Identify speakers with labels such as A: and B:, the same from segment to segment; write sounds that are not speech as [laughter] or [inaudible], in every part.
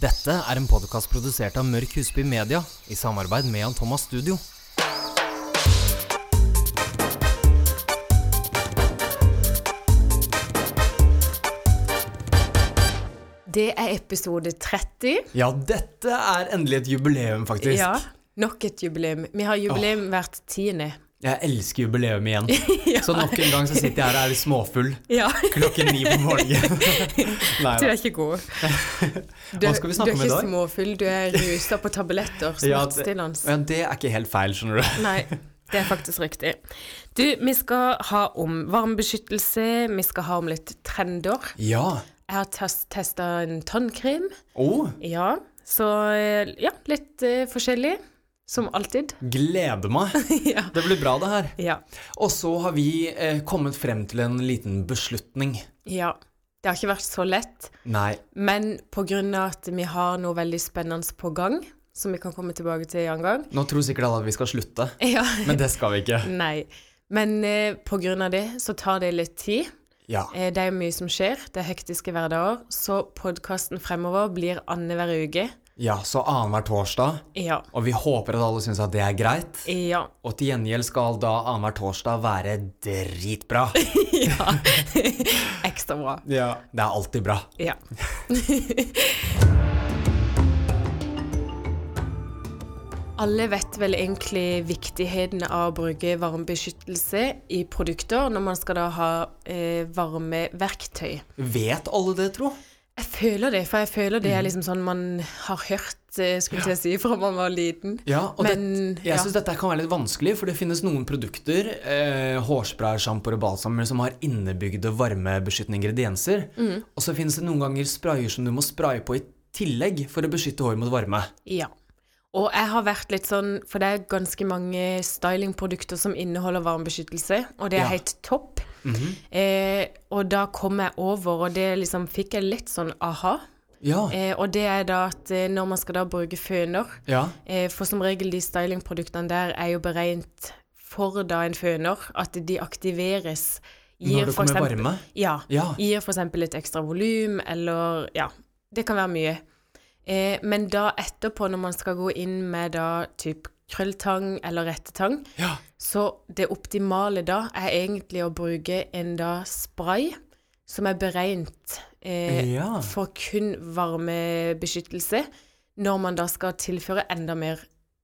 A: Dette er en podkast produsert av Mørk Husby Media i samarbeid med Jan Thomas Studio.
B: Det er episode 30.
C: Ja, dette er endelig et jubileum, faktisk.
B: Ja, Nok et jubileum. Vi har jubileum hvert tiende.
C: Jeg elsker jubileum
B: [laughs]
C: igjen. Så nok en gang så sitter jeg her og er litt småfull
B: Ja, [laughs]
C: klokken ni på morgenen. Nei,
B: du er ikke
C: [laughs]
B: god. Du,
C: Hva skal vi snakke
B: du er
C: om i
B: ikke
C: dag?
B: småfull, du er rusa på tabletter.
C: Ja, det, [laughs]
B: Smertestillende.
C: ja, det er ikke helt feil, skjønner du.
B: Nei, det er faktisk riktig. Du, vi skal ha om varmebeskyttelse, vi skal ha om litt trender.
C: Ja.
B: Jeg har testa en tannkrem.
C: Oh,
B: Ja, så eh, ja, litt eh, forskjellig. Som alltid.
C: gleder meg.
B: [laughs] ja.
C: Det blir bra, det her.
B: ja.
C: Og så har vi eh, kommet frem til en liten beslutning.
B: Ja. Det har ikke vært så lett.
C: Nei.
B: Men pga. at vi har noe veldig spennende på gang, som vi kan komme tilbake til en gang
C: Nå tror sikkert alle at vi skal slutte,
B: [laughs] Ja.
C: men det skal vi ikke.
B: Nei. Men eh, pga. det så tar det litt tid.
C: Ja.
B: Eh, det er mye som skjer, det er hektiske hverdager, så podkasten fremover blir annenhver uke.
C: ja, så annenhver torsdag.
B: Ja.
C: Og vi håper at alle syns at det er greit.
B: Ja.
C: Og til gjengjeld skal da annenhver torsdag være dritbra.
B: ja. Ekstra bra.
C: [laughs] Ja. Det er alltid bra.
B: Ja. [laughs] Alle vet vel egentlig viktigheten av å bruke varmebeskyttelse i produkter når man skal da ha eh, varme verktøy.
C: Vet alle det, tro?
B: Jeg føler det, for jeg føler det er liksom sånn man har hørt, eh, skulle jeg til å si, fra man var liten.
C: Ja, og
B: Men,
C: det,
B: ja.
C: jeg synes syns dette kan være litt vanskelig, for det finnes noen produkter, eh, hårsprayer, sjampoer og balsamer, som har innebygde varmebeskyttende ingredienser.
B: Mm.
C: Og så finnes det noen ganger sprayer som du må spraye på i tillegg for å beskytte hår mot varme.
B: Ja. Og jeg har vært litt sånn, for det er ganske mange stylingprodukter som inneholder varmebeskyttelse, og det er
C: Ja. Mhm.
B: helt topp. eh, og da kom jeg over, og det liksom fikk jeg litt sånn aha.
C: Ja.
B: Eh, og det er da at eh, når man skal da bruke føner,
C: ja.
B: eh, for som regel de stylingproduktene der er jo beregnet for da en føner, at de aktiveres.
C: Når det
B: for
C: kommer
B: eksempel-
C: varme.
B: ja.
C: Ja.
B: Gir f.eks. litt ekstra volum, eller ja. Det kan være mye. Eh, men da etterpå, når man skal gå inn med da typ krølltang eller rettetang,
C: Ja.
B: så det optimale da er egentlig å bruke en da spray som er beregnet eh,
C: Ja.
B: for kun varmebeskyttelse, når man da skal tilføre enda mer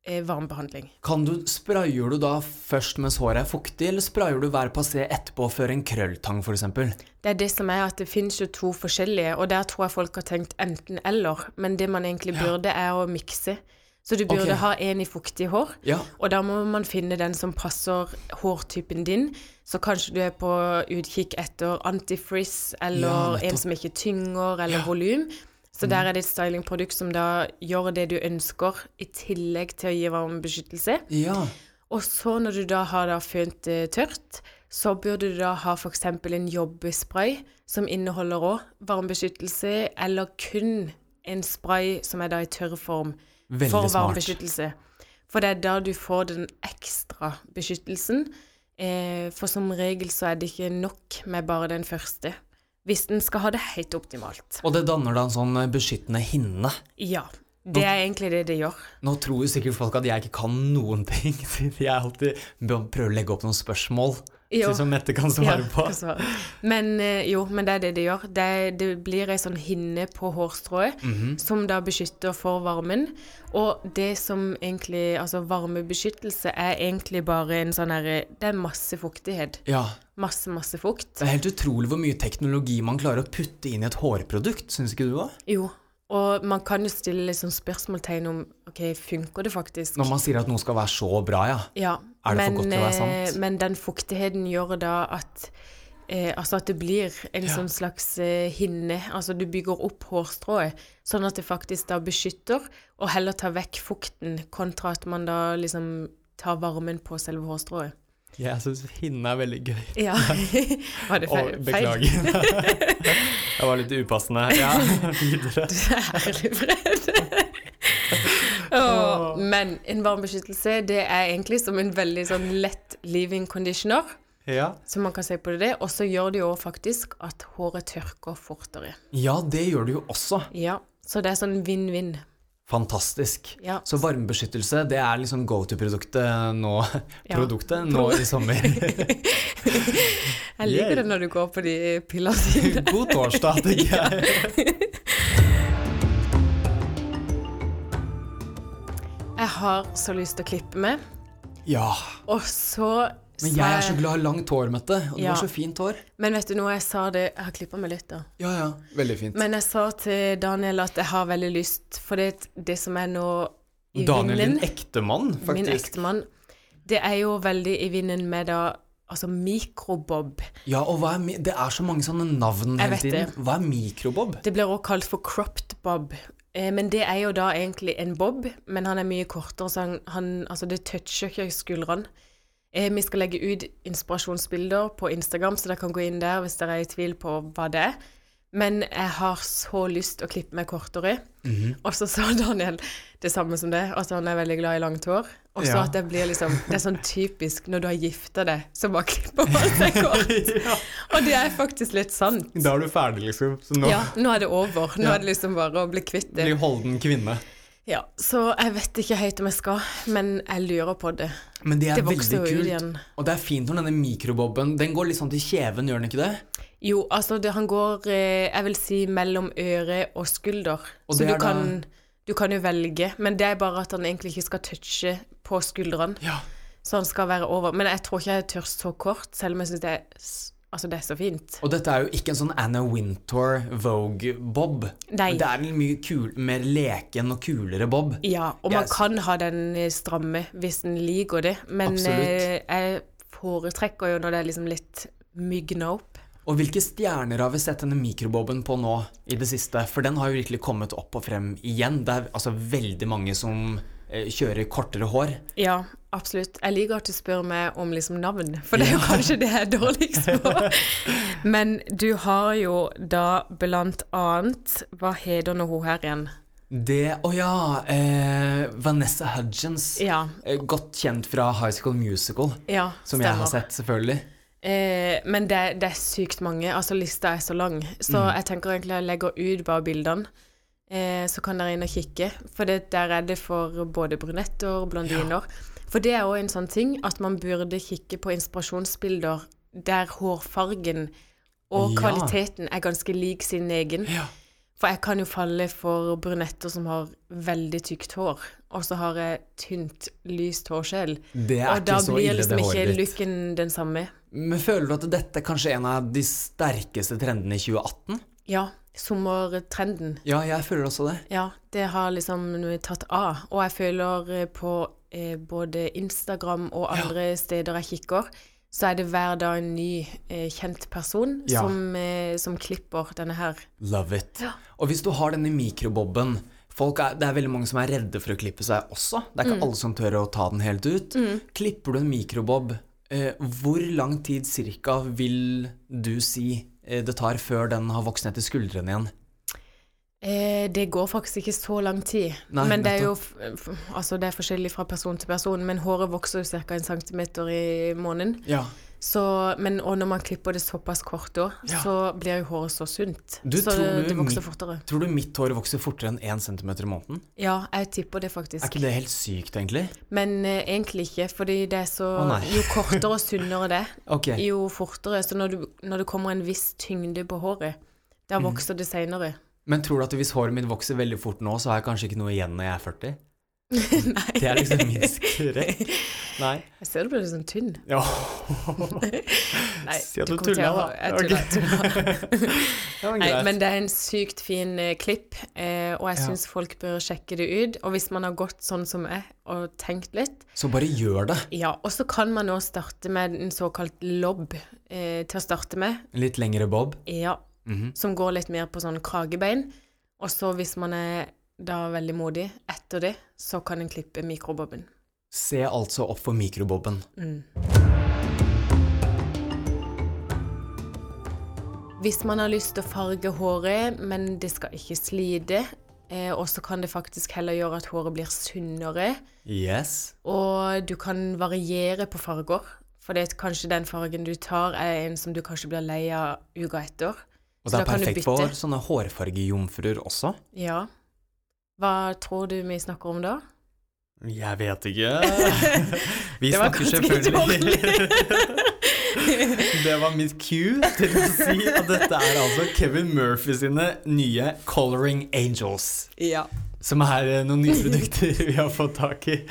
B: eh, varmebehandling.
C: Kan du, sprayer du da først mens håret er fuktig, eller sprayer du hver passé etterpå før en krølltang, f.eks.?
B: Det er det som er at det finnes jo to forskjellige, og der tror jeg folk har tenkt enten eller, men det man egentlig burde er å mikse. Så du burde
C: Ok.
B: ha en i fuktig hår,
C: Ja.
B: og da må man finne den som passer hårtypen din. Så kanskje du er på utkikk etter antifrizz,
C: Ja,
B: eller
C: nettopp. Mm.
B: en som ikke tynger, eller volum. Så der er det et stylingprodukt som da gjør det du ønsker, i tillegg til å gi varmebeskyttelse.
C: Ja.
B: Og så når du da har da fønt eh, tørt, så burde du da ha f.eks. en jobbespray som inneholder òg varmebeskyttelse, eller kun en spray som er da i tørr form
C: Veldig
B: for
C: smart.
B: varmebeskyttelse. For det er da du får den ekstra beskyttelsen. Eh, for som regel så er det ikke nok med bare den første. Hvis den skal ha det helt optimalt.
C: Og det danner da en sånn eh, beskyttende hinne.
B: Ja. Det er egentlig det det gjør.
C: Nå tror jo sikkert folk at jeg ikke kan noen ting, [laughs] siden jeg alltid bør- prøver å legge opp noen spørsmål
B: Jo.
C: til- som Mette kan svare
B: [laughs] Ja,
C: på.
B: kan svare. Men eh, jo, men det er det det gjør. Det, det blir ei sånn hinne på hårstrået som da beskytter for varmen. Og det som egentlig Altså, varmebeskyttelse er egentlig bare en sånn herre Det er masse fuktighet.
C: Ja,
B: Masse, masse fukt.
C: Det er helt utrolig hvor mye teknologi man klarer å putte inn i et hårprodukt, syns ikke du òg?
B: Jo. Og man kan jo stille liksom spørsmålstegn om OK, funker det faktisk?
C: Når man sier at noe skal være så bra, ja.
B: Ja,
C: Er det for
B: men,
C: godt til å være
B: eh,
C: sant?
B: men den fuktigheten gjør da at eh, Altså at det blir en sånn slags eh, hinne. Altså du bygger opp hårstrået, sånn at det faktisk da beskytter, og heller tar vekk fukten, kontra at man da liksom tar varmen på selve hårstrået.
C: Jeg syns hinne er veldig gøy.
B: Ja. [laughs] Var det feil?
C: det var litt upassende. Ja, [laughs] videre.
B: [laughs] Herlig fred. [laughs] Åh, men en varmebeskyttelse, det er egentlig som en veldig sånn lett leaving conditioner.
C: Ja.
B: Så man kan se på det, og så gjør det jo faktisk at håret tørker fortere.
C: ja, det gjør du jo også.
B: Ja, Så det er sånn vinn-vinn.
C: Fantastisk.
B: Ja.
C: Så varmebeskyttelse, det er liksom go to-produktet nå,
B: Ja.
C: produktet nå i sommer. [laughs]
B: Jeg liker
C: Yay.
B: det når du går på de pillene sine.
C: God torsdag, tenker jeg.
B: [laughs] Jeg har så lyst til å klippe meg,
C: Ja.
B: og så
C: Men
B: sa
C: jeg er så glad i langt hår, Mette. Og du
B: Ja.
C: har så fint hår.
B: Men vet du noe, jeg sa det Jeg har klippa meg litt, da.
C: Ja, ja. Veldig fint.
B: Men jeg sa til Daniel at jeg har veldig lyst, for det, det som er nå i
C: Daniel, din
B: vinden
C: ektemann,
B: Min
C: faktisk.
B: ektemann. Det er jo veldig i vinden med da Altså mikrobob.
C: Ja, og hva er mi Det er så mange sånne navn
B: Jeg
C: hele
B: vet
C: tiden. Hva er
B: [laughs]
C: mikrobob? [laughs]
B: Det blir også kalt for cropped bob. Eh, men det er jo da egentlig en bob, men han er mye kortere, så han, han Altså, det toucher ikke skuldrene. Eh, vi skal legge ut inspirasjonsbilder på Instagram, så dere kan gå inn der hvis dere er i tvil på hva det er. Men jeg har så lyst å klippe meg kortere. Og så sa Daniel det samme som det, at han er veldig glad i langt hår. Og så
C: Ja.
B: at det blir liksom Det er sånn typisk når du har gifta deg, så bare klipper man seg kort. Og det er faktisk litt sant.
C: Da er du ferdig, liksom. Så nå
B: Ja, nå er det over. Nå
C: Ja.
B: er det liksom bare å bli kvitt det.
C: blir Holden kvinne.
B: Ja, så jeg vet ikke helt om jeg skal, men jeg lurer på det.
C: Men det er
B: Det
C: veldig
B: vokser jo ut
C: kult.
B: igjen.
C: Og det er fint når denne mikroboben Den går litt sånn til kjeven, gjør den ikke det?
B: Jo, altså det, han går, eh, jeg vil si, mellom øre og skulder.
C: Og
B: så
C: det
B: du
C: er da-
B: kan, du kan jo velge, men det er bare at han egentlig ikke skal touche på skuldrene.
C: Ja.
B: Så han skal være over. Men jeg tror ikke jeg tør så kort, selv om jeg syns det, er s- altså, det er så fint.
C: Og dette er jo ikke en sånn Anna Wintour Vogue-bob.
B: Nei.
C: Det er en mye kul, mer leken og kulere bob.
B: Ja, og man
C: Yes.
B: kan ha den eh, stramme hvis en liker det, men eh,
C: Absolutt.
B: jeg foretrekker jo når det er liksom litt mygna opp.
C: Og hvilke stjerner har vi sett denne mikroboben på nå i det siste? For den har jo virkelig kommet opp og frem igjen. Det er altså veldig mange som eh, kjører kortere hår.
B: Ja, absolutt. Jeg liker at du spør meg om liksom navn, for det er jo kanskje det jeg er dårligst på.
C: [laughs]
B: Men du har jo da blant annet Hva heter nå hun her igjen?
C: Det Å ja! Eh, Vanessa Hudgens.
B: Ja.
C: Eh, godt kjent fra High School Musical,
B: Ja,
C: som jeg har sett, selvfølgelig.
B: Eh, men det, det er sykt mange. Altså, lista er så lang. Så
C: Mhm.
B: jeg tenker egentlig jeg legger ut bare bildene. Eh, så kan dere inn og kikke. For det, der er det for både brunetter og blondiner. For det er òg en sånn ting at man burde kikke på inspirasjonsbilder der hårfargen og
C: Ja.
B: kvaliteten er ganske lik sin egen.
C: Ja.
B: For jeg kan jo falle for brunetter som har veldig tykt hår, og så har jeg tynt, lyst hårskjell.
C: Mm. Det er
B: Og da
C: ikke så
B: blir
C: ille,
B: liksom
C: det
B: ikke
C: håret ditt.
B: looken den samme.
C: Men føler du at dette er kanskje en av de sterkeste trendene i 2018?
B: Ja, sommertrenden.
C: Ja, jeg føler også det.
B: Ja, det har liksom tatt av. Og jeg føler eh, på eh, både Instagram og andre steder jeg kikker, så er det hver dag en ny eh, kjent person
C: Ja.
B: som, eh, som klipper denne her.
C: Love it. Og hvis du har denne mikroboben folk er, Det er veldig mange som er redde for å klippe seg også. Det er
B: Mm.
C: ikke alle som tør å ta den helt ut. Klipper du en mikrobob, eh, hvor lang tid cirka vil du si eh, det tar før den har vokst ned til skuldrene igjen?
B: Eh, det går faktisk ikke så lang tid.
C: Nei,
B: men det er jo f f altså det er forskjellig fra person til person. Men håret vokser jo ca. en centimeter i måneden.
C: Ja.
B: Så, men, og når man klipper det såpass kort da, så blir jo håret så sunt.
C: Du,
B: så
C: tror du
B: det, det vokser
C: mi-
B: fortere.
C: Tror du mitt hår vokser fortere enn 1 cm i måneden?
B: Ja, jeg tipper det faktisk.
C: Er ikke det helt sykt, egentlig?
B: Men eh, egentlig ikke, fordi det er så
C: Å, nei.
B: Jo kortere og
C: [laughs]
B: sunnere det,
C: Ok.
B: jo fortere. Så når, du, når det kommer en viss tyngde på håret, da
C: Mm.
B: vokser det seinere.
C: Men tror du at hvis håret mitt vokser veldig fort nå, så har jeg kanskje ikke noe igjen når jeg er
B: [laughs]
C: 40? Nei. Det er liksom min skrekk.
B: [laughs]
C: Nei.
B: Jeg ser du blir litt sånn tynn.
C: Ja.
B: Nei,
C: Si at du
B: kommer til
C: tuller,
B: å-
C: da.
B: Jeg
C: Ok.
B: tuller. jeg tuller.
C: [laughs] Det var
B: Nei,
C: greit.
B: men det er en sykt fin eh, klipp, eh, og jeg
C: Ja.
B: syns folk bør sjekke det ut. Og hvis man har gått sånn som jeg, og tenkt litt
C: Så bare gjør det.
B: Ja, og så kan man nå starte med en såkalt lobb eh, til å starte med.
C: En litt lengre bob.
B: Ja. Som går litt mer på sånn kragebein. Og så hvis man er da veldig modig etter det, så kan en klippe mikroboben.
C: Se altså opp for mikroboben.
B: Hvis man har lyst til å farge håret, men det skal ikke slide, eh, og så kan det faktisk heller gjøre at håret blir sunnere,
C: Yes.
B: og du kan variere på farger. For det er kanskje den fargen du tar, er en som du kanskje blir lei av uka etter.
C: Og
B: Så
C: det er
B: da kan du
C: perfekt
B: bytte.
C: for sånne hårfargejomfruer også.
B: Ja. Hva tror du vi snakker om da?
C: Jeg vet ikke. Vi
B: Det var
C: snakker
B: kanskje litt
C: selvfølgelig [laughs] Det var mitt cue til å si at dette er altså Kevin Murphy sine nye Coloring Angels.
B: Ja.
C: Som er eh, noen nye produkter vi har fått tak i,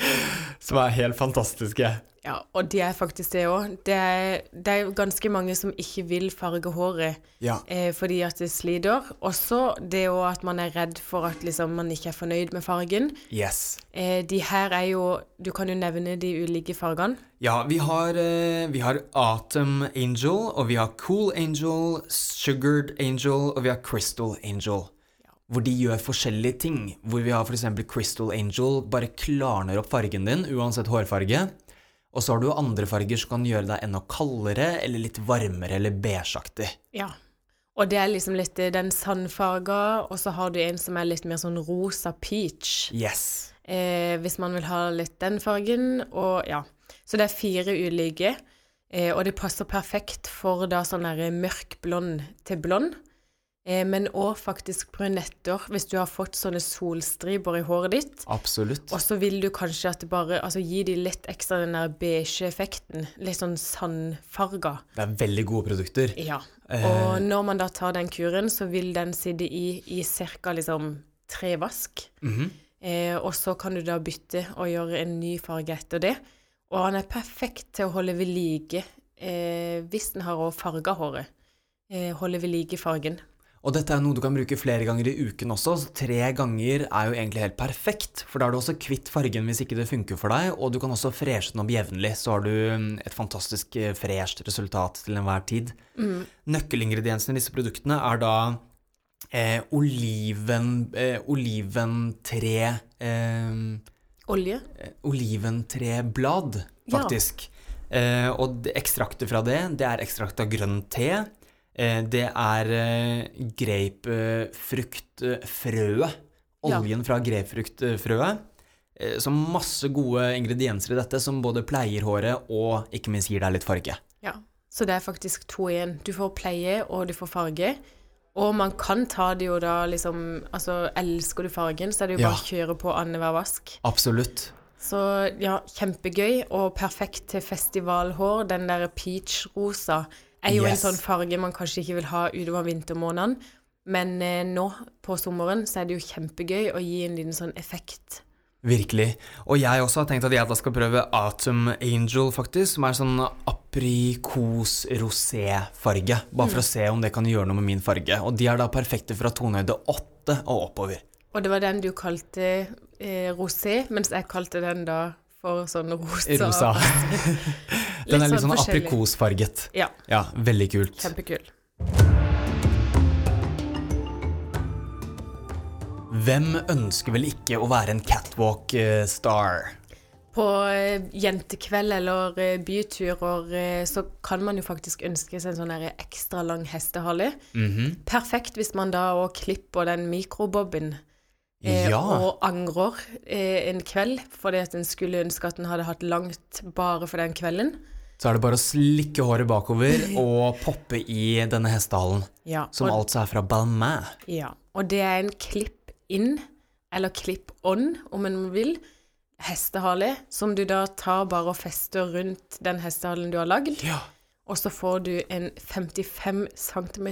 C: som er helt fantastiske.
B: ja og de er faktisk det òg. Det, er- det er jo ganske mange som ikke vil farge håret
C: Ja.
B: eh, fordi at det sliter. Også det òg at man er redd for at liksom, man ikke er fornøyd med fargen.
C: Yes.
B: Eh, de her er jo Du kan jo nevne de ulike fargene.
C: Ja, vi har, eh, vi har Atom Angel, og vi har Cool Angel, Sugared Angel, og vi har Crystal Angel. Hvor de gjør forskjellige ting. Hvor vi har f.eks. Crystal Angel bare klarner opp fargen din, uansett hårfarge. Og så har du andre farger som kan gjøre deg enda kaldere, eller litt varmere, eller beigeaktig.
B: Ja. Og det er liksom litt eh, den sandfarga, og så har du en som er litt mer sånn rosa peach.
C: Yes.
B: eh, hvis man vil ha litt den fargen, og ja. Så det er fire ulike, eh, og det passer perfekt for da sånn der mørk blond til blond, eh, men også faktisk brunetter, hvis du har fått sånne solstriber i håret ditt,
C: Absolutt.
B: og så vil du kanskje at det bare, altså gi de litt ekstra den der beige effekten, litt sånn sandfarga.
C: Det er veldig gode produkter.
B: Ja, og når man da tar den kuren, så vil den sitte i, i cirka liksom tre vask.
C: Mhm.
B: eh, og så kan du da bytte og gjøre en ny farge etter det. Og han er perfekt til å holde ved like, eh, hvis den har også farga håret, eh, holde ved like fargen.
C: Og dette er noe du kan bruke flere ganger i uken også, så tre ganger er jo egentlig helt perfekt. For da er du også kvitt fargen hvis ikke det funker for deg, og du kan også freshe den opp jevnlig, så har du mm, et fantastisk eh, fresht resultat til enhver tid. Nøkkelingrediensene i disse produktene er da eh, oliven, eh, oliventre eh,
B: Olje?
C: Oliventreblad,
B: Ja.
C: faktisk. Eh, og det- ekstraktet fra det, det er ekstrakt av grønn te. Eh, det er eh, grapefruktfrøet.
B: Ja.
C: Oljen fra grapefruktfrøet. Eh, så masse gode ingredienser i dette som både pleier håret og ikke minst gir deg litt farge.
B: Ja. Så det er faktisk to igjen. Du får pleie, og du får farge. Og man kan ta det jo da liksom Altså, elsker du fargen, så er det jo
C: Ja.
B: bare å kjøre på annenhver vask.
C: Absolutt.
B: Så ja, kjempegøy og perfekt til festivalhår. Den der peach-rosa er jo
C: Yes.
B: en sånn farge man kanskje ikke vil ha utover vintermånedene. Men eh, nå på sommeren så er det jo kjempegøy å gi en liten sånn effekt.
C: Virkelig. Og jeg også har tenkt at jeg da skal prøve Atom Angel, faktisk, som er sånn aprikos-rosé-farge. Bare
B: Mm.
C: for å se om det kan gjøre noe med min farge. Og de er da perfekte fra tonehøyde 8 og oppover.
B: Og det var den du kalte eh, rosé, mens jeg kalte den da for sånn rosa.
C: Rosa.
B: [laughs]
C: [laughs] Den er litt sånn
B: forskjellig.
C: aprikosfarget.
B: Ja,
C: Ja, veldig kult.
B: kjempekul.
C: Hvem ønsker vel ikke å være en eh, catwalk-star?
B: På eh, jentekveld eller eh, byturer eh, så kan man jo faktisk ønske seg en sånn her ekstra lang hestehale.
C: Mhm.
B: Perfekt hvis man da òg klipper den mikrobobben eh,
C: Ja.
B: og angrer eh, en kveld fordi at en skulle ønske at en hadde hatt langt bare for den kvelden.
C: Så er det bare å slikke håret bakover
B: [laughs]
C: og poppe i denne hestehalen.
B: Ja,
C: Som
B: og,
C: altså er fra Balmain.
B: ja. og det er en klipp inn, eller klipp on om en vil, hestehale som du da tar bare og fester rundt den hestehalen du har lagd.
C: Ja.
B: Og så får du en 55 cm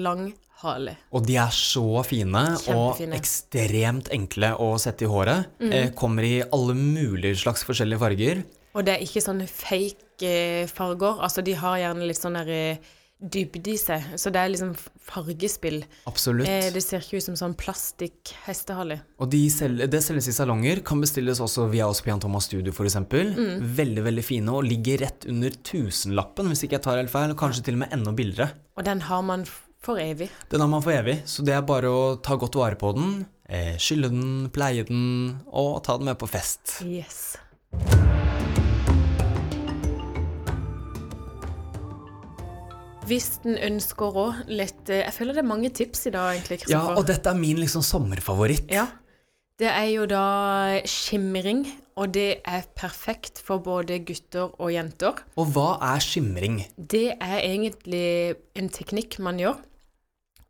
B: lang hale.
C: Og de er så fine,
B: Kjempefine. Mm.
C: og ekstremt enkle å sette i håret. Eh, kommer i alle mulige slags forskjellige farger.
B: Og det er ikke sånne fake eh, farger. Altså, de har gjerne litt sånn der eh, dybde i seg. Så det er liksom f- fargespill.
C: Absolutt.
B: Eh, det ser ikke ut som sånn plastikk-hestehale.
C: Og de sel det selges i salonger, kan bestilles også via oss på Jan Thomas Studio f.eks. Mm. Veldig veldig fine og ligger rett under tusenlappen, hvis ikke jeg tar helt feil. og Kanskje til og med enda billigere.
B: Og den har man f- for evig.
C: Den har man for evig, så det er bare å ta godt vare på den. eh, Skylle den, pleie den, og ta den med på fest.
B: Yes. Hvis den ønsker òg litt eh, Jeg føler det er mange tips i dag, egentlig.
C: Ja,
B: Kristoffer.
C: og dette er min liksom sommerfavoritt.
B: Ja. Det er jo da skimring, og det er perfekt for både gutter og jenter.
C: Og hva er skimring?
B: Det er egentlig en teknikk man gjør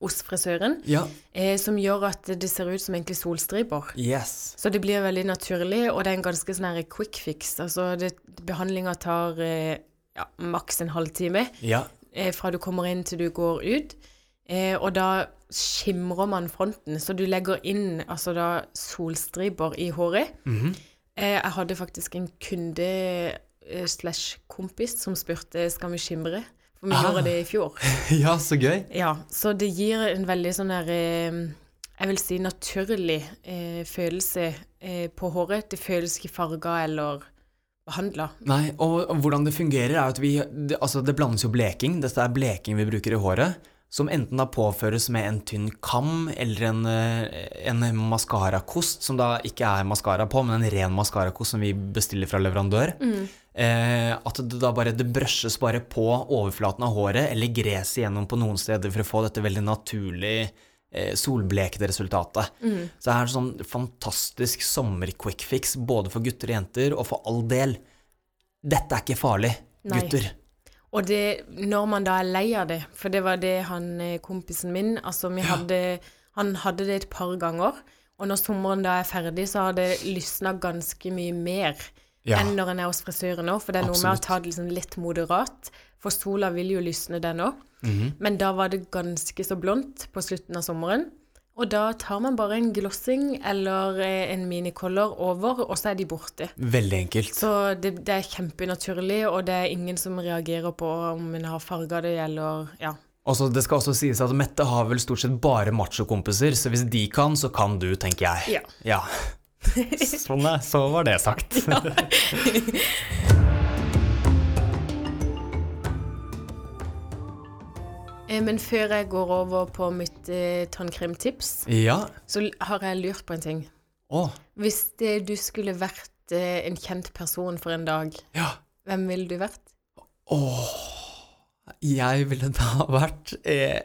B: hos frisøren,
C: Ja.
B: eh, som gjør at det ser ut som egentlig solstriper.
C: Yes.
B: Så det blir veldig naturlig, og det er en ganske sånn her quick fix. Altså, det- behandlinga tar eh, ja, maks en halvtime
C: Ja.
B: eh, fra du kommer inn til du går ut. Eh, og da skimrer man fronten, så du legger inn altså da solstriper i håret. eh, jeg hadde faktisk en kunde eh, slash kompis som spurte skal vi skimre, for vi
C: Ah.
B: gjorde det i fjor.
C: [laughs] ja, så gøy.
B: Ja, så det gir en veldig sånn der eh, Jeg vil si naturlig eh, følelse eh, på håret. Det føles ikke farga eller behandla.
C: Nei, og og hvordan det fungerer er at vi, det, altså det blandes jo bleking, dette er bleking vi bruker i håret, som enten da påføres med en tynn kam eller en, eh, en maskarakost, som da ikke er maskara på, men en ren maskarakost som vi bestiller fra leverandør. Eh, at det da bare det brøsjes bare på overflaten av håret, eller gres igjennom på noen steder for å få dette veldig naturlig eh, solblekede resultatet. Så det er en sånn fantastisk sommer-quick-fix, både for gutter og jenter, og for all del. Dette er ikke farlig,
B: Nei.
C: gutter.
B: Og det, når man da er lei av det, for det var det han eh, kompisen min altså vi hadde, Han hadde det et par ganger, og når sommeren da er ferdig, så har det lysna ganske mye mer
C: Ja.
B: enn når en er hos frisøren nå. For det er noe med å
C: Absolutt.
B: ta det liksom litt moderat, for sola vil jo lysne den òg.
C: Mhm.
B: Men da var det ganske så blondt på slutten av sommeren. Og da tar man bare en glossing eller eh, en minicolor over, og så er de borte.
C: Veldig enkelt.
B: Så det, det er kjempenaturlig, og det er ingen som reagerer på om en har farga det, eller ja.
C: Også, det skal også sies at Mette har vel stort sett bare machokompiser, så hvis de kan, så kan du, tenker jeg.
B: Ja. [laughs]
C: Sånn er, så var det sagt.
B: Eh, Men før jeg går over på mitt eh, tannkremtips,
C: Ja.
B: så l- har jeg lurt på en ting.
C: Å,
B: Hvis eh, du skulle vært eh, en kjent person for en dag,
C: ja.
B: hvem ville du vært?
C: Jeg ville da vært eh,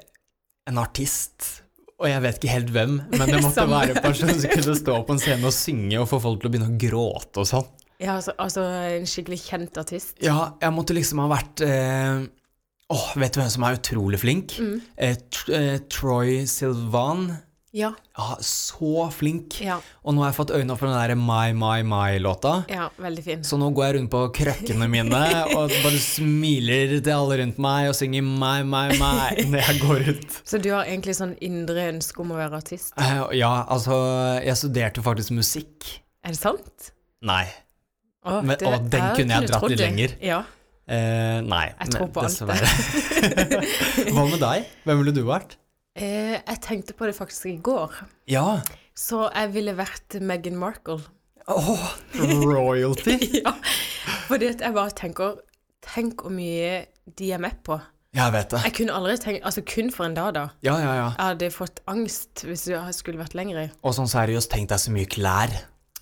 C: en artist, og jeg vet ikke helt hvem, men det måtte
B: Samme.
C: være en person som kunne stå på en scene og synge og få folk til å begynne å gråte og sånn.
B: Ja, altså, altså en skikkelig kjent artist.
C: Ja, jeg måtte liksom ha vært eh, Åh, vet du hvem som er utrolig flink?
B: Mm.
C: Eh, tr eh, Troy Silvan.
B: Ja.
C: Ja, så flink.
B: Ja.
C: Og nå har jeg fått øynene opp for den der My My My-låta.
B: Ja, veldig fin.
C: Så nå går jeg rundt på krøkkene
B: [laughs]
C: mine og bare smiler til alle rundt meg og synger My My My når jeg går ut.
B: Så du har egentlig sånn indre ønske om å være artist?
C: Eh, ja, altså, jeg studerte faktisk musikk.
B: Er det sant?
C: Nei.
B: Å,
C: Men- å, den kunne jeg dratt
B: trodd
C: litt
B: det.
C: lenger.
B: Ja.
C: Eh, nei.
B: Jeg tror
C: men
B: på alt, jeg.
C: dessverre. [laughs] Hva med deg? Hvem ville du vært?
B: Eh, jeg tenkte på det faktisk i går.
C: Ja,
B: Så jeg ville vært Meghan Markle.
C: Åh, royalty?
B: ja. Fordi at jeg bare tenker Tenk hvor mye de er med på.
C: Jeg vet det.
B: Jeg kunne aldri tenkt Altså kun for en dag, da.
C: Ja, ja, ja.
B: Jeg hadde fått angst hvis jeg skulle vært lenger i.
C: Og sånn seriøst, tenk deg så mye klær.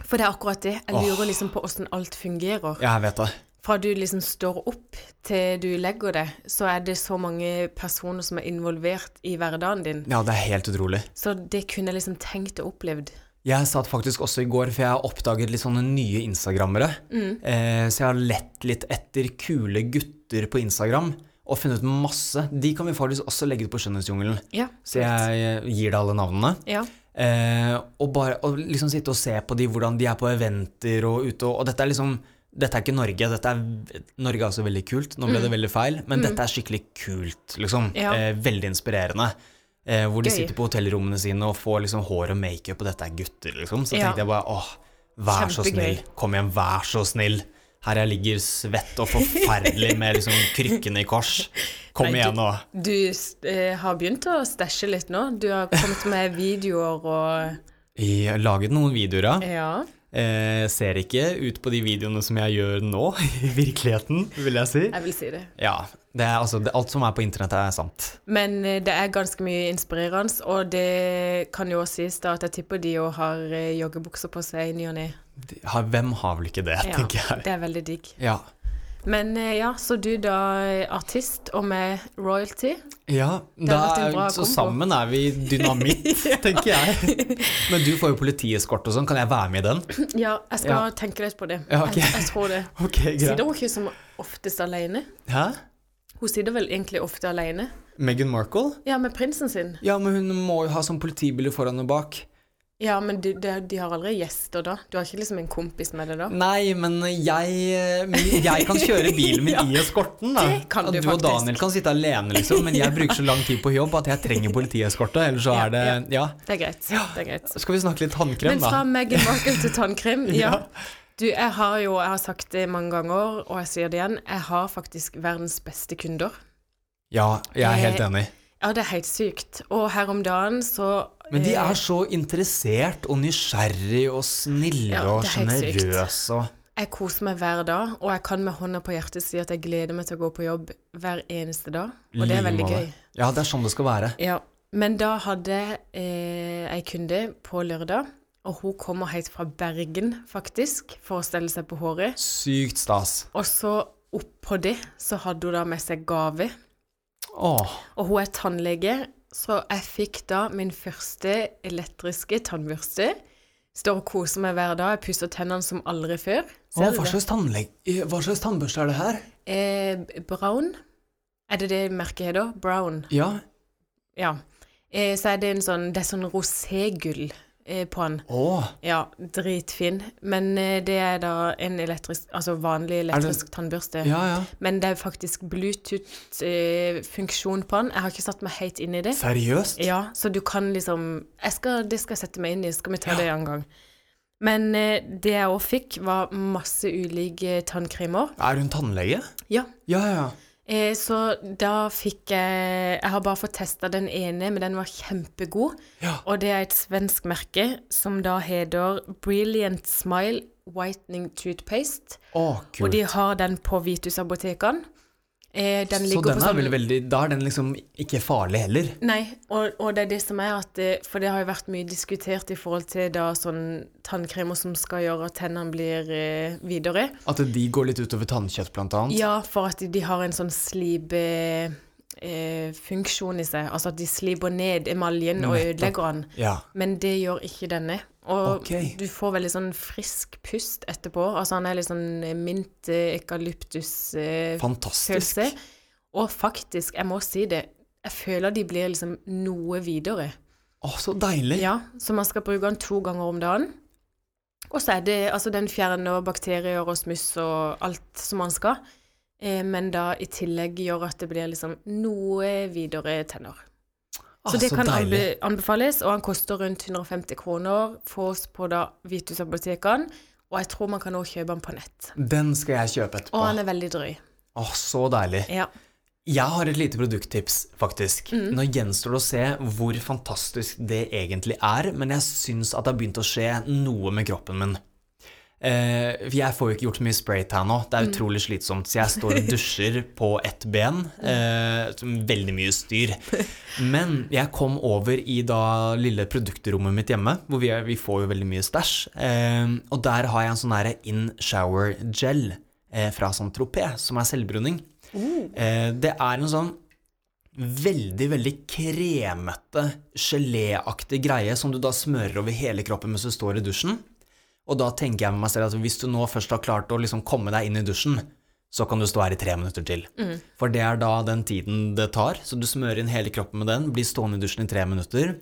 B: For det er akkurat det. Jeg lurer liksom på åssen alt fungerer.
C: Jeg vet det.
B: Fra du liksom står opp til du legger deg, så er det så mange personer som er involvert i hverdagen din.
C: Ja, det er helt utrolig.
B: Så det kunne jeg liksom tenkt og opplevd.
C: Jeg satt faktisk også i går, for jeg har oppdaget litt sånne nye instagrammere. Eh, så jeg har lett litt etter kule gutter på Instagram, og funnet masse. De kan vi faktisk også legge ut på Skjønnhetsjungelen.
B: Ja.
C: Så jeg eh, gir deg alle navnene.
B: Ja.
C: Eh, og bare og liksom sitte og se på de, hvordan de er på eventer og ute. Og, og dette er liksom dette er ikke Norge. Dette er, Norge er også veldig kult. Nå ble det veldig feil, men dette er skikkelig kult, liksom.
B: Mm. Ja.
C: Eh, veldig inspirerende. Eh, hvor de
B: Gøy.
C: sitter på hotellrommene sine og får liksom hår og makeup, og dette er gutter, liksom. Så
B: Ja.
C: tenkte jeg bare åh, vær så
B: Kjempegøy.
C: snill. Kom igjen, vær så snill. Her jeg ligger svett og forferdelig med liksom krykkene i kors. Kom
B: Nei,
C: igjen nå.
B: Du eh, har begynt å stæsje litt nå. Du har kommet med [laughs] videoer og
C: Jeg har laget noen videoer, ja.
B: Ja.
C: Eh, ser ikke ut på de videoene som jeg gjør nå, [laughs] i virkeligheten, vil jeg si.
B: Jeg vil si det.
C: Ja, det er, altså, det, alt som er på internett er sant.
B: Men eh, det er ganske mye inspirerende, og det kan jo også sies da at jeg tipper de jo har eh, joggebukser på seg i ny og ne.
C: De- har- Hvem har vel ikke det,
B: Ja,
C: tenker jeg.
B: det er veldig digg.
C: Ja.
B: Men eh, ja, så du da eh, artist og med royalty.
C: ja
B: har
C: da,
B: vært en bra
C: så
B: kombo.
C: sammen er vi dynamitt,
B: [laughs]
C: tenker jeg. Men du får jo politieskort og sånn, kan jeg være med i den?
B: [clears throat] Ja, jeg skal
C: Ja.
B: tenke litt på det.
C: [laughs] Ja, ok.
B: jeg, jeg tror det.
C: Ok,
B: Sitter hun ikke som oftest alene?
C: Hæ?
B: Hun sitter vel egentlig ofte alene.
C: Meghan Markle?
B: Ja, med prinsen sin.
C: Ja, men hun må jo ha sånn politibiler foran og bak.
B: Ja, men de, de, de har aldri gjester da. Du har ikke liksom en kompis med deg da?
C: Nei, men jeg, men jeg kan kjøre bilen
B: [laughs]
C: min i eskorten, da.
B: Det kan
C: Og
B: du
C: du og
B: faktisk.
C: Daniel kan sitte alene, liksom, men jeg bruker så lang tid på jobb at jeg trenger politieskorte. Ellers så
B: Ja,
C: er det Ja.
B: Det er greit. Det er greit.
C: Skal vi snakke litt tannkrem,
B: Men fra
C: da?
B: Meghan Markle til
C: [laughs]
B: tannkrem, ja.
C: Ja.
B: Du, jeg har jo, jeg har sagt det mange ganger, og jeg sier det igjen, jeg har faktisk verdens beste kunder.
C: Ja, jeg er
B: Eh,
C: helt enig.
B: Ja, det er helt sykt. Og her om dagen så
C: Men de
B: eh,
C: er så interessert og nysgjerrig og snille
B: Ja,
C: og
B: det er helt sykt.
C: sjenerøse og
B: Jeg koser meg hver dag, og jeg kan med hånda på hjertet si at jeg gleder meg til å gå på jobb hver eneste dag, og det er veldig
C: limemålet.
B: gøy.
C: Ja, det er sånn det skal være.
B: Ja, men da hadde eh, ei kunde på lørdag, og hun kommer helt fra Bergen, faktisk, for å stelle seg på håret.
C: Sykt stas.
B: Og så oppå det så hadde hun da med seg gave,
C: Åh.
B: og hun er tannlege, så jeg fikk da min første elektriske tannbørste. Står og koser meg hver dag, jeg pusser tennene som aldri før.
C: Åh,
B: Ser du
C: hva
B: det?
C: slags, tannleg... eh, hva slags tannbørste er det her?
B: Eh, brown, er det det merket heter? Brown.
C: Ja.
B: Ja. Eh, så er det en sånn, det er sånn roségull eh, på den.
C: Åh.
B: Ja, dritfin. Men eh, det er da en elektrisk, altså vanlig elektrisk tannbørste.
C: Ja, ja.
B: Men det er faktisk Bluetooth-funksjon på den. Jeg har ikke satt meg helt inn i det.
C: Seriøst?
B: Ja, så du kan liksom jeg skal, Det skal jeg sette meg inn i, så skal vi ta det en gang. Men eh, det jeg òg fikk, var masse ulike tannkremer.
C: Er hun tannlege?
B: Ja.
C: Ja, ja, ja.
B: Eh, så da fikk jeg Jeg har bare fått testa den ene, men den var kjempegod.
C: Ja.
B: Og det er et svensk merke som da heter Brilliant Smile Whitening Toothpaste.
C: Å,
B: Og
C: kult.
B: de har den på Vitus-apotekene. Eh, den
C: så
B: ligger
C: den
B: på
C: er
B: sånn
C: vel veldig Da er den liksom ikke farlig heller.
B: Nei, og, og det er det som er at eh, For det har jo vært mye diskutert i forhold til da sånn tannkremer som skal gjøre at tennene blir eh, videre.
C: At de går litt utover tannkjøtt, blant annet.
B: Ja, for at de- de har en sånn slibe eh, funksjon i seg. Altså at de sliber ned emaljen og
C: Nettopp.
B: ødelegger den.
C: Ja.
B: Men det gjør ikke denne. Og
C: Ok.
B: du får veldig sånn frisk pust etterpå. Altså han er litt sånn eh, mint eh, ekalyptus-følelse.
C: Fantastisk.
B: og faktisk, jeg må si det, jeg føler de blir liksom noe videre.
C: Å, så deilig.
B: Ja, så man skal bruke den to ganger om dagen. Og så er det, altså den fjerner bakterier og smuss og alt som man skal. Eh, men da i tillegg gjør at det blir liksom noe videre tenner.
C: Å,
B: Så det
C: Ah, så
B: kan
C: deilig.
B: anbe anbefales, og han koster rundt 150 kroner. Fås på da Vitus-apotekene, og jeg tror man kan også kjøpe den på nett.
C: Den skal jeg kjøpe etterpå.
B: Og
C: Å,
B: han er veldig drøy.
C: så deilig.
B: Ja.
C: Jeg har et lite produkttips, faktisk.
B: Mm.
C: Nå gjenstår det å se hvor fantastisk det egentlig er, men jeg syns at det har begynt å skje noe med kroppen min. Eh, for jeg får jo ikke gjort så mye spraytan nå, det er utrolig slitsomt, så jeg står og dusjer på ett ben. eh, som veldig mye styr. Men jeg kom over i da lille produktrommet mitt hjemme, hvor vi, er, vi får jo veldig mye stæsj. Eh, og der har jeg en sånn derre in shower gel eh, fra saint tropez som er selvbruning. Eh, det er en sånn veldig, veldig kremete, geléaktig greie som du da smører over hele kroppen mens du står i dusjen. Og da tenker jeg med meg selv at hvis du nå først har klart å liksom komme deg inn i dusjen, så kan du stå her i tre minutter til. For det er da den tiden det tar. Så du smører inn hele kroppen med den, blir stående i dusjen i tre minutter,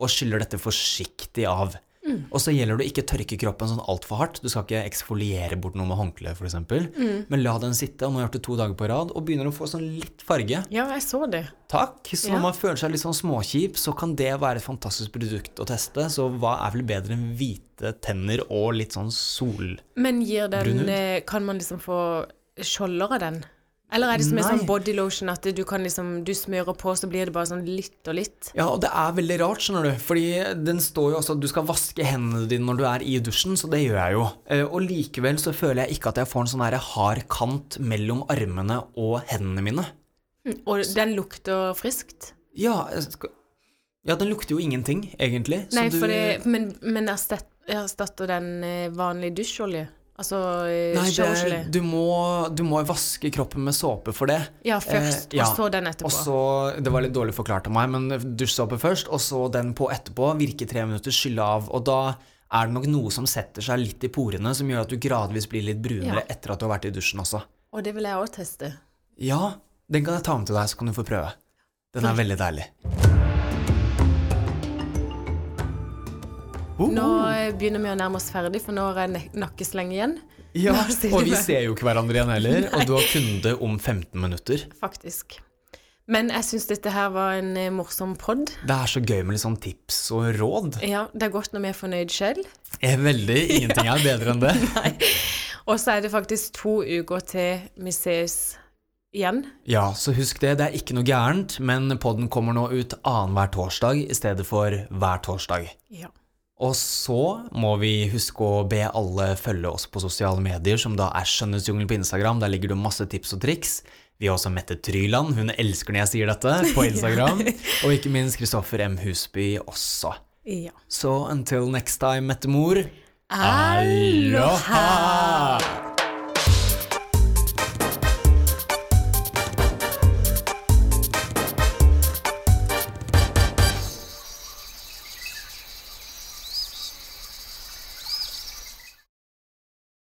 C: og skyller dette forsiktig av. Og så gjelder det å ikke tørke kroppen sånn altfor hardt. Du skal ikke eksfoliere bort noe med håndkle, f.eks. Mm. Men la den sitte, og nå har jeg gjort det to dager på rad, og begynner å få sånn litt farge.
B: ja, jeg så det.
C: Takk. Så
B: Ja.
C: når man føler seg litt sånn småkjip, så kan det være et fantastisk produkt å teste. Så hva er vel bedre enn hvite tenner og litt sånn sol...
B: Men gir den
C: Brunhud?
B: eh, Kan man liksom få skjolder av den? Eller er det som en
C: Nei.
B: sånn body lotion at du kan liksom Du smører på, så blir det bare sånn litt og litt?
C: Ja, og det er veldig rart, skjønner du. Fordi den står jo også at du skal vaske hendene dine når du er i dusjen, så det gjør jeg jo. Eh, Og likevel så føler jeg ikke at jeg får en sånn her hard kant mellom armene og hendene mine.
B: Og den lukter friskt?
C: Ja, jeg skal- ja den lukter jo ingenting, egentlig. Så
B: Nei,
C: du-
B: for det Men, men erstet- erstatter den eh, vanlig dusjolje? Altså
C: Nei,
B: showergelé?
C: det, du, må, du må vaske kroppen med såpe for det.
B: Ja, først,
C: eh, ja.
B: og så den etterpå.
C: Og så, Det var litt dårlig forklart av meg, men dusjsåpe først, og så den på etterpå. Virke tre minutter, skylle av. Og da er det nok noe som setter seg litt i porene, som gjør at du gradvis blir litt brunere
B: Ja.
C: etter at du har vært i dusjen også.
B: Og det vil jeg òg teste.
C: Ja, Den kan jeg ta med til deg, så kan du få prøve. Den er veldig deilig. Oh,
B: Nå eh, begynner vi å nærme oss ferdig, for nå er det nek- nakkesleng igjen.
C: ja,
B: [laughs] nå sier
C: og
B: du
C: vi
B: det.
C: ser jo ikke hverandre igjen heller, og du har kunde om 15 minutter.
B: Faktisk. Men jeg syns dette her var en eh, morsom pod.
C: Det er så gøy med litt sånn tips og råd.
B: Ja, det er godt når vi er fornøyd selv.
C: Jeg er veldig, Ingenting er bedre enn det.
B: Og så er det faktisk to uker til vi ses igjen.
C: Ja, så husk det, det er ikke noe gærent, men podden kommer nå ut annenhver torsdag i stedet for hver torsdag.
B: Ja.
C: Og så må vi huske å be alle følge oss på sosiale medier, som da er Skjønnhetsjungelen på Instagram. Der ligger det masse tips og triks. Vi har også Mette Tryland, hun elsker når jeg sier dette, på Instagram. Og ikke minst Kristoffer M. Husby også.
B: ja.
C: Ah. Så until next time, Mette Mor.
B: Aloha!